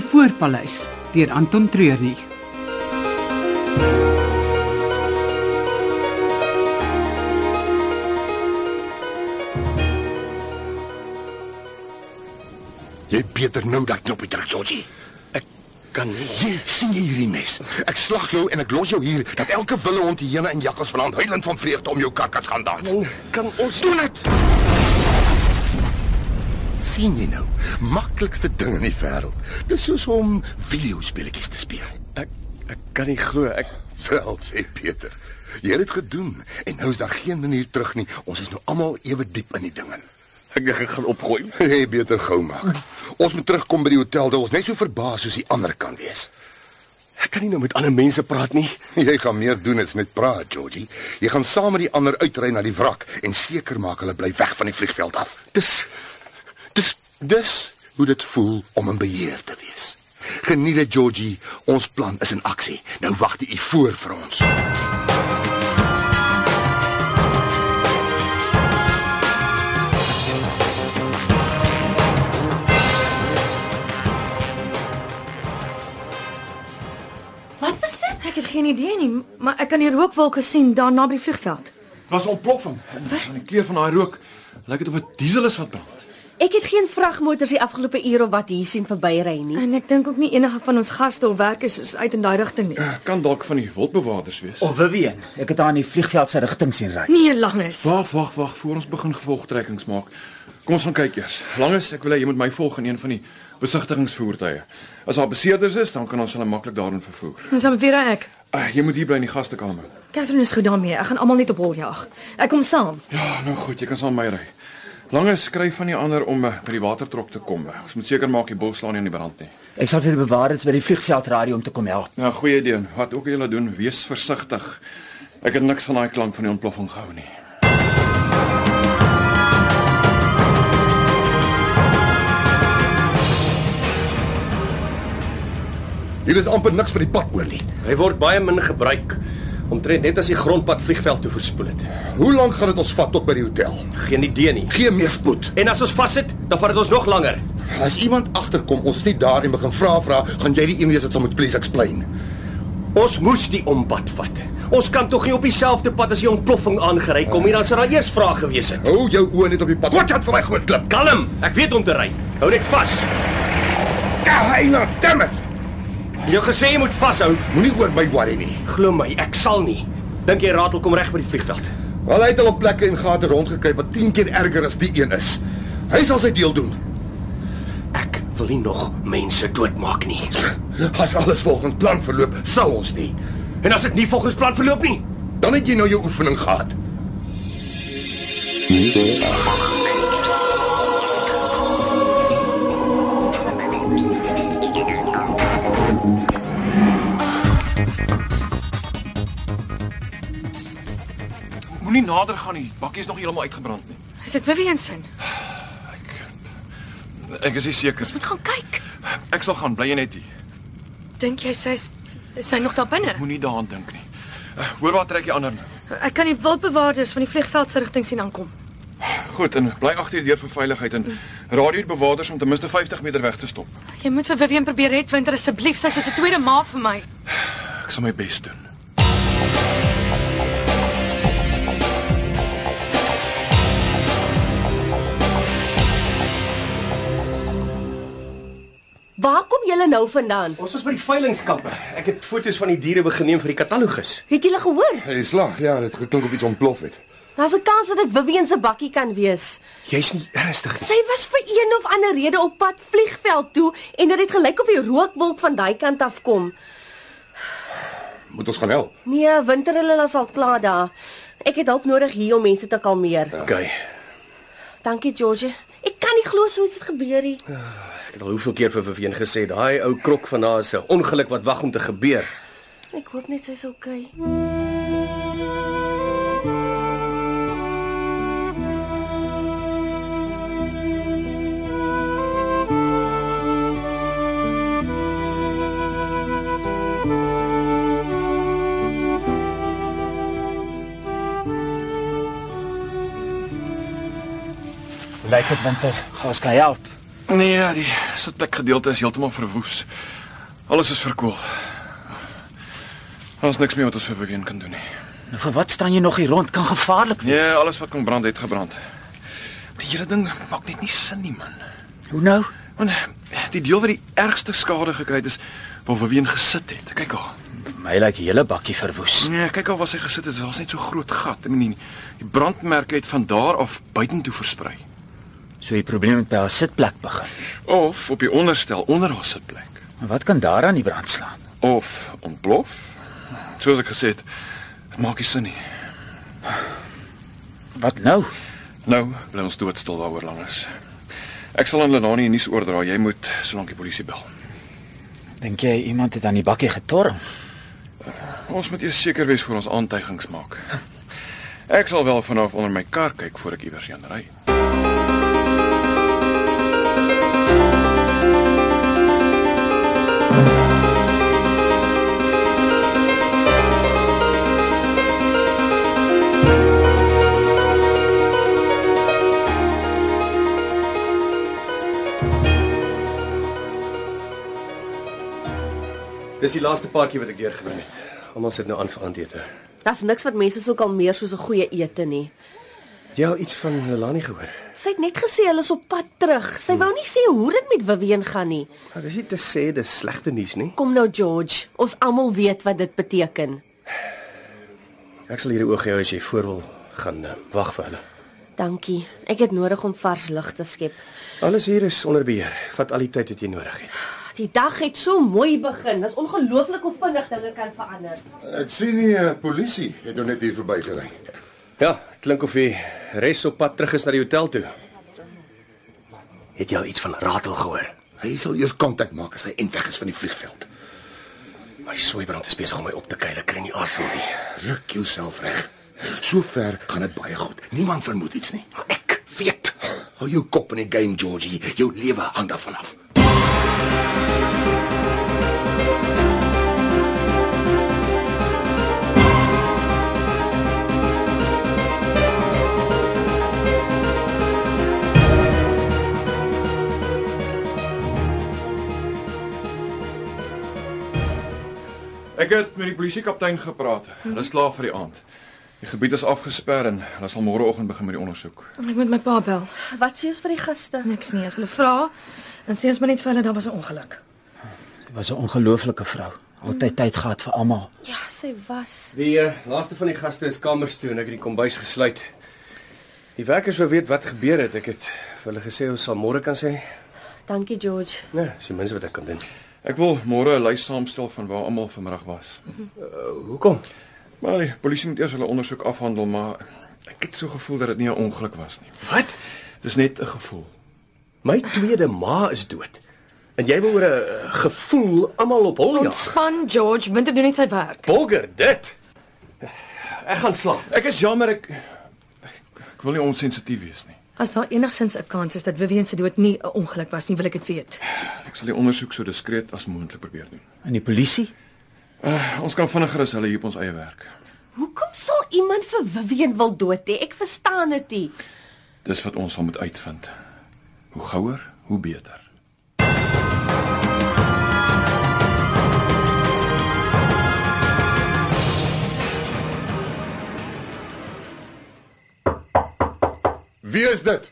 Spoorpaleis deur Anton Treurnig. Jy Pieter nou daai knoppie druk, Georgie. Ek kan nie. Jy sien jy hierdie mes. Ek slag jou en ek los jou hier dat elke bullehond, hyena en jakkals vanaand huilend van vreugde om jou kakkas gaan dans. Dan kan ons Doen dit. sien jy nou? Maklikste ding in die wêreld. Dis soos om videospeletjies te speel. ek ek kan nie glo ek Wel, sê Pieter. Jy het dit gedoen en nou is daar geen manier terug nie. Ons is nou almal ewe diep in die ding in. ek dink ek gaan opgooi. Jy beter gou maak. Ons moet terugkom by die hotel, dat ons net so verbaas soos die ander kan wees. Ek kan nie nou met ander mense praat nie. Jy gaan meer doen as net praat, Georgie. Jy gaan saam met die ander uitry na die wrak en seker maak hulle bly weg van die vliegveld af. Dis Dis dis hoe dit voel om in beheer te wees. Geniet dit, Georgie. Ons plan is in aksie. Nou wag die voor vir ons. Wat was dit? Ek het geen idee nie, maar ek kan die rookwolke sien daar naby die vliegveld. was 'n ontploffing. Van die kleur van daai rook, lyk dit of dit diesel is wat brand. Ek het geen vragmotors die afgelope uur of wat hier sien verbyry nie. En ek dink ook nie enige van ons gaste of werkers is uit in daai rigting nie. Kan dalk van die wildbewaarders wees. Of Vivian, ek het haar in die vliegveld se rigting sien ry. Nee, langes. Wag, wag, wag, voor ons begin gevolgtrekkings maak. Kom ons gaan kyk eers. Langes, ek wil hê jy moet my volg in een van die besigtigingsvoertuie. As daar beseerders is, dan kan ons hulle maklik daarin vervoer. Ons moet weer ek. Uh, jy moet hier bly in die gastekamer. Catherine is goed daarmee. Ek gaan almal net op hol jaag. Ek kom saam. Ja, nou goed, jy kan saam met my ry. Langes skryf van die ander om eh, by die watertrok te kom. Ons moet seker maak die bos slaan nie aan die brand nie. Ek sal vir die bewaarders by die vliegveld radio om te kom help. Ja, goeie idee. Wat ook al jy doen, wees versigtig. Ek het niks van daai klank van die ontploffing gehou nie. Hier is amper niks vir die pad oor nie. hy word baie min gebruik omtrent net as die grondpad vliegveld toe verspoel het. Hoe lank gaan dit ons vat tot by die hotel? Geen idee nie. Geen meespoed. En as ons vashit, dan vat dit ons nog langer. As iemand agterkom, ons is nie daar en begin vra vra, gaan jy die een wees wat sal moet please explain. Ons moes die ompad vat. Ons kan tog nie op dieselfde pad as die ontploffing aangery kom nie, dan sou daar eers vrae gewees het. Hou jou oë net op die pad. Wat het vir my groot klip? Kalm, ek weet om te ry. Hou net vas. Kahina, damn it. Jy het gesê jy moet vashou. Moenie oor my worry nie. Glo my, ek sal nie. Dink jy Ratel kom reg by die vliegveld? Wel hy het al op plekke en gate rondgekruip wat 10 keer erger as die een is. Hy sal sy deel doen. Ek wil nie nog mense doodmaak nie. As alles volgens plan verloop, sal ons nie. En as dit nie volgens plan verloop nie, Dan het jy nou jou oefening gehad. Moenie nader gaan nie. Bakkie is nog heeltemal uitgebrand nie. Is dit Vivian se? Ek is nie seker. Moet gaan kyk. Ek sal gaan, bly jy net hier. Dink jy sy's is sy nog daar binne? Moenie daaraan dink nie. Uh, Hoor waar trek jy ander nou? Ek kan die wildbewaarders van die vliegveld se rigting sien aankom. Goed, en bly agter die deur vir veiligheid en radio die bewakers om ten minste 50 meter weg te stop. Jy moet vir Vivian probeer red, Winter asseblief. Sy's soos 'n tweede ma vir my. Ek sal my bes doen. Waar kom julle nou vandaan? ons is by die veilingkampe. Ek het foto's van die diere begeneem vir die katalogus. Het julle gehoor? Hy slag, ja, dit geklink of iets ontplof het. Daar's 'n kans dat dit Vivian se bakkie kan wees. Jy's nie ernstig nie. Sy was vir een of ander rede op pad vliegveld toe en dit het gelyk of die rookwolk van daai kant af kom. Moet ons gaan help. Nee, winter hulle is al klaar daar. Ek het hulp nodig hier om mense te kalmeer. Okay. Dankie George. Ek kan nie glo so iets het gebeur nie. Ek het al hoeveel keer vir Vivian gesê, daai ou krok van haar is 'n ongeluk wat wag om te gebeur. Ek hoop net sy's okay. Lyk dit winter, ons kan help. Nee, die sitplekgedeelte is heeltemal verwoes. Alles is verkoel. Ons niks meer wat ons vir Vivian kan doen nie. Nou vir wat staan jy nog hier rond? Kan gevaarlik wees. Nee, alles wat kon brand het gebrand. Die hele ding maak net nie sin nie, man. Hoe nou? Want die deel wat die ergste skade gekry het is waar Vivian gesit het. Kyk haar. My lyk die hele bakkie verwoes. Nee, kyk al was hy gesit het, daar's net so groot gat. Ek meen die, die brandmerke het van daar af buitentoe versprei. So die probleem het by haar sitplek begin. Of op die onderstel onder haar sitplek. En wat kan daaraan die brand slaan? Of ontplof. Soos ek gesê het, dit maak nie sin nie. Wat nou? Nou, bly ons doodstil daaroor langs. Ek sal aan Lenani nuus oordra. Jy moet solank die polisie bel. Dink jy iemand het aan die bakkie getorm? Ons moet eers seker wees voor ons aantuigings maak. Ek sal wel vanaf onder my kar kyk voor ek iewers heen ry. Dis die laaste paartjie wat ek deurgewen het. Almal sit nou aan vir aandete. Daar's niks wat mense so kalmeer soos 'n goeie ete nie. Jy het iets van Lelani gehoor. Sy het net gesê hulle is op pad terug. Sy wou nie sê hoe dit met Vivian gaan nie. Maar Ja, dis nie te sê dis slegte nuus nie. Kom nou George, ons almal weet wat dit beteken. Ek sal hierdie oog hou as jy voor wil gaan eh, wag vir hulle. Dankie. Ek het nodig om vars lug te skep. Alles hier is onder beheer. Vat al die tyd wat jy nodig het. Die dag het so mooi begin. Dit is ongelooflik hoe vinnig dinge kan verander. Ek sien nie eh, polisie het nou net hier verbygery. Ja, klink of die res op pad terug is na die hotel toe. Het jy al iets van Ratel gehoor? Hy sal eers kontak maak as hy end weg is van die vliegveld. My soeibrand is besig om my op te kuil. Ek kry nie asem nie. Ruk jouself reg. Sover gaan dit baie goed. Niemand vermoed iets nie. Ek weet. Hou jou kop in die game, Georgie. Jou lewe hang daarvan af. Ek het met die polisiekaptein gepraat. Hulle is klaar vir die aand. Die gebied is afgesper en hulle sal môreoggend begin met die ondersoek. Ek moet my pa bel. Wat sê ons vir die gaste? Niks nie, as hulle vra, dan sê ons maar net vir hulle daar was 'n ongeluk. Sy was 'n ongelooflike vrou. Altyd tyd gehad vir almal. Ja, sy was. Die uh, laaste van die gaste is kamers toe en ek het die kombuis gesluit. Die werkers wou weet wat gebeur het. Ek het vir hulle gesê ons sal môre kan sê. Dankie George. Nee, dis die minste wat ek kan doen. Ek wil môre 'n lys saamstel van waar almal vanmiddag was. Hoekom? Maar die polisie moet eers hulle ondersoek afhandel, maar ek het so gevoel dat dit nie 'n ongeluk was nie. Wat? Dis net 'n gevoel. My tweede ma is dood. En jy wil oor 'n eh, gevoel almal op hol jag. Ontspan, George, Winter doen net sy werk. Bogger dit. Ek gaan slaap. Ek is jammer ek ek wil nie onsensitief wees nie. As daar enigsins 'n kans is dat Vivian se dood nie 'n ongeluk was nie, wil ek dit weet. Ek sal die ondersoek so diskreet as moontlik probeer doen. En die polisie? Ons kan vinniger as hulle hier op ons eie werk. Hoekom sal iemand vir Vivian wil dood hê? Ek verstaan dit nie. Dis wat ons sal moet uitvind. Hoe gouer, hoe beter. Wie is dit?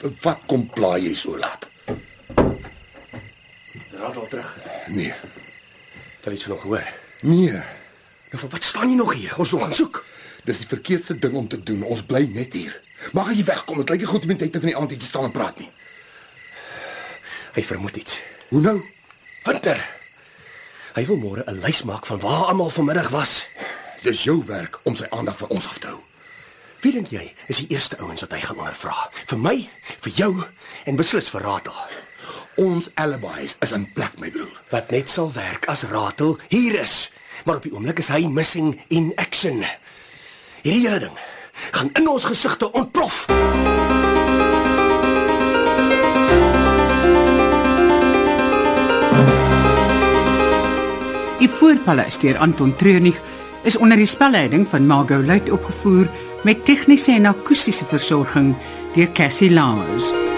George. Wat kom pla jy so laat? Raad al terug. Nee. Tel iets nog hoor. Nee. Nou vir wat staan jy nog hier? Ons moet gaan soek. Dis die verkeerdste ding om te doen. Ons bly net hier. Mag jy wegkom? Dit lyk nie goed om die tyd van die aand hier te staan en praat nie. Hy vermoed iets. Hoe nou? Winter. Hy wil môre 'n lys maak van waar almal vanmiddag was. Dis jou werk om sy aandag van ons af te hou. Wie dink jy is die eerste ouens wat hy gaan ondervra? Vir my, vir jou en beslis vir Ratel. Ons alibis is in plek, my broer. Wat net sal werk as Ratel hier is. Maar op die oomblik is hy missing in action. Hierdie hele ding gaan in ons gesigte ontplof. Die Voorpaleis deur Anton Treurnig is onder die spelleiding van Margot Luit opgevoer met tegniese en akoestiese versorging deur Cassie Lawrence.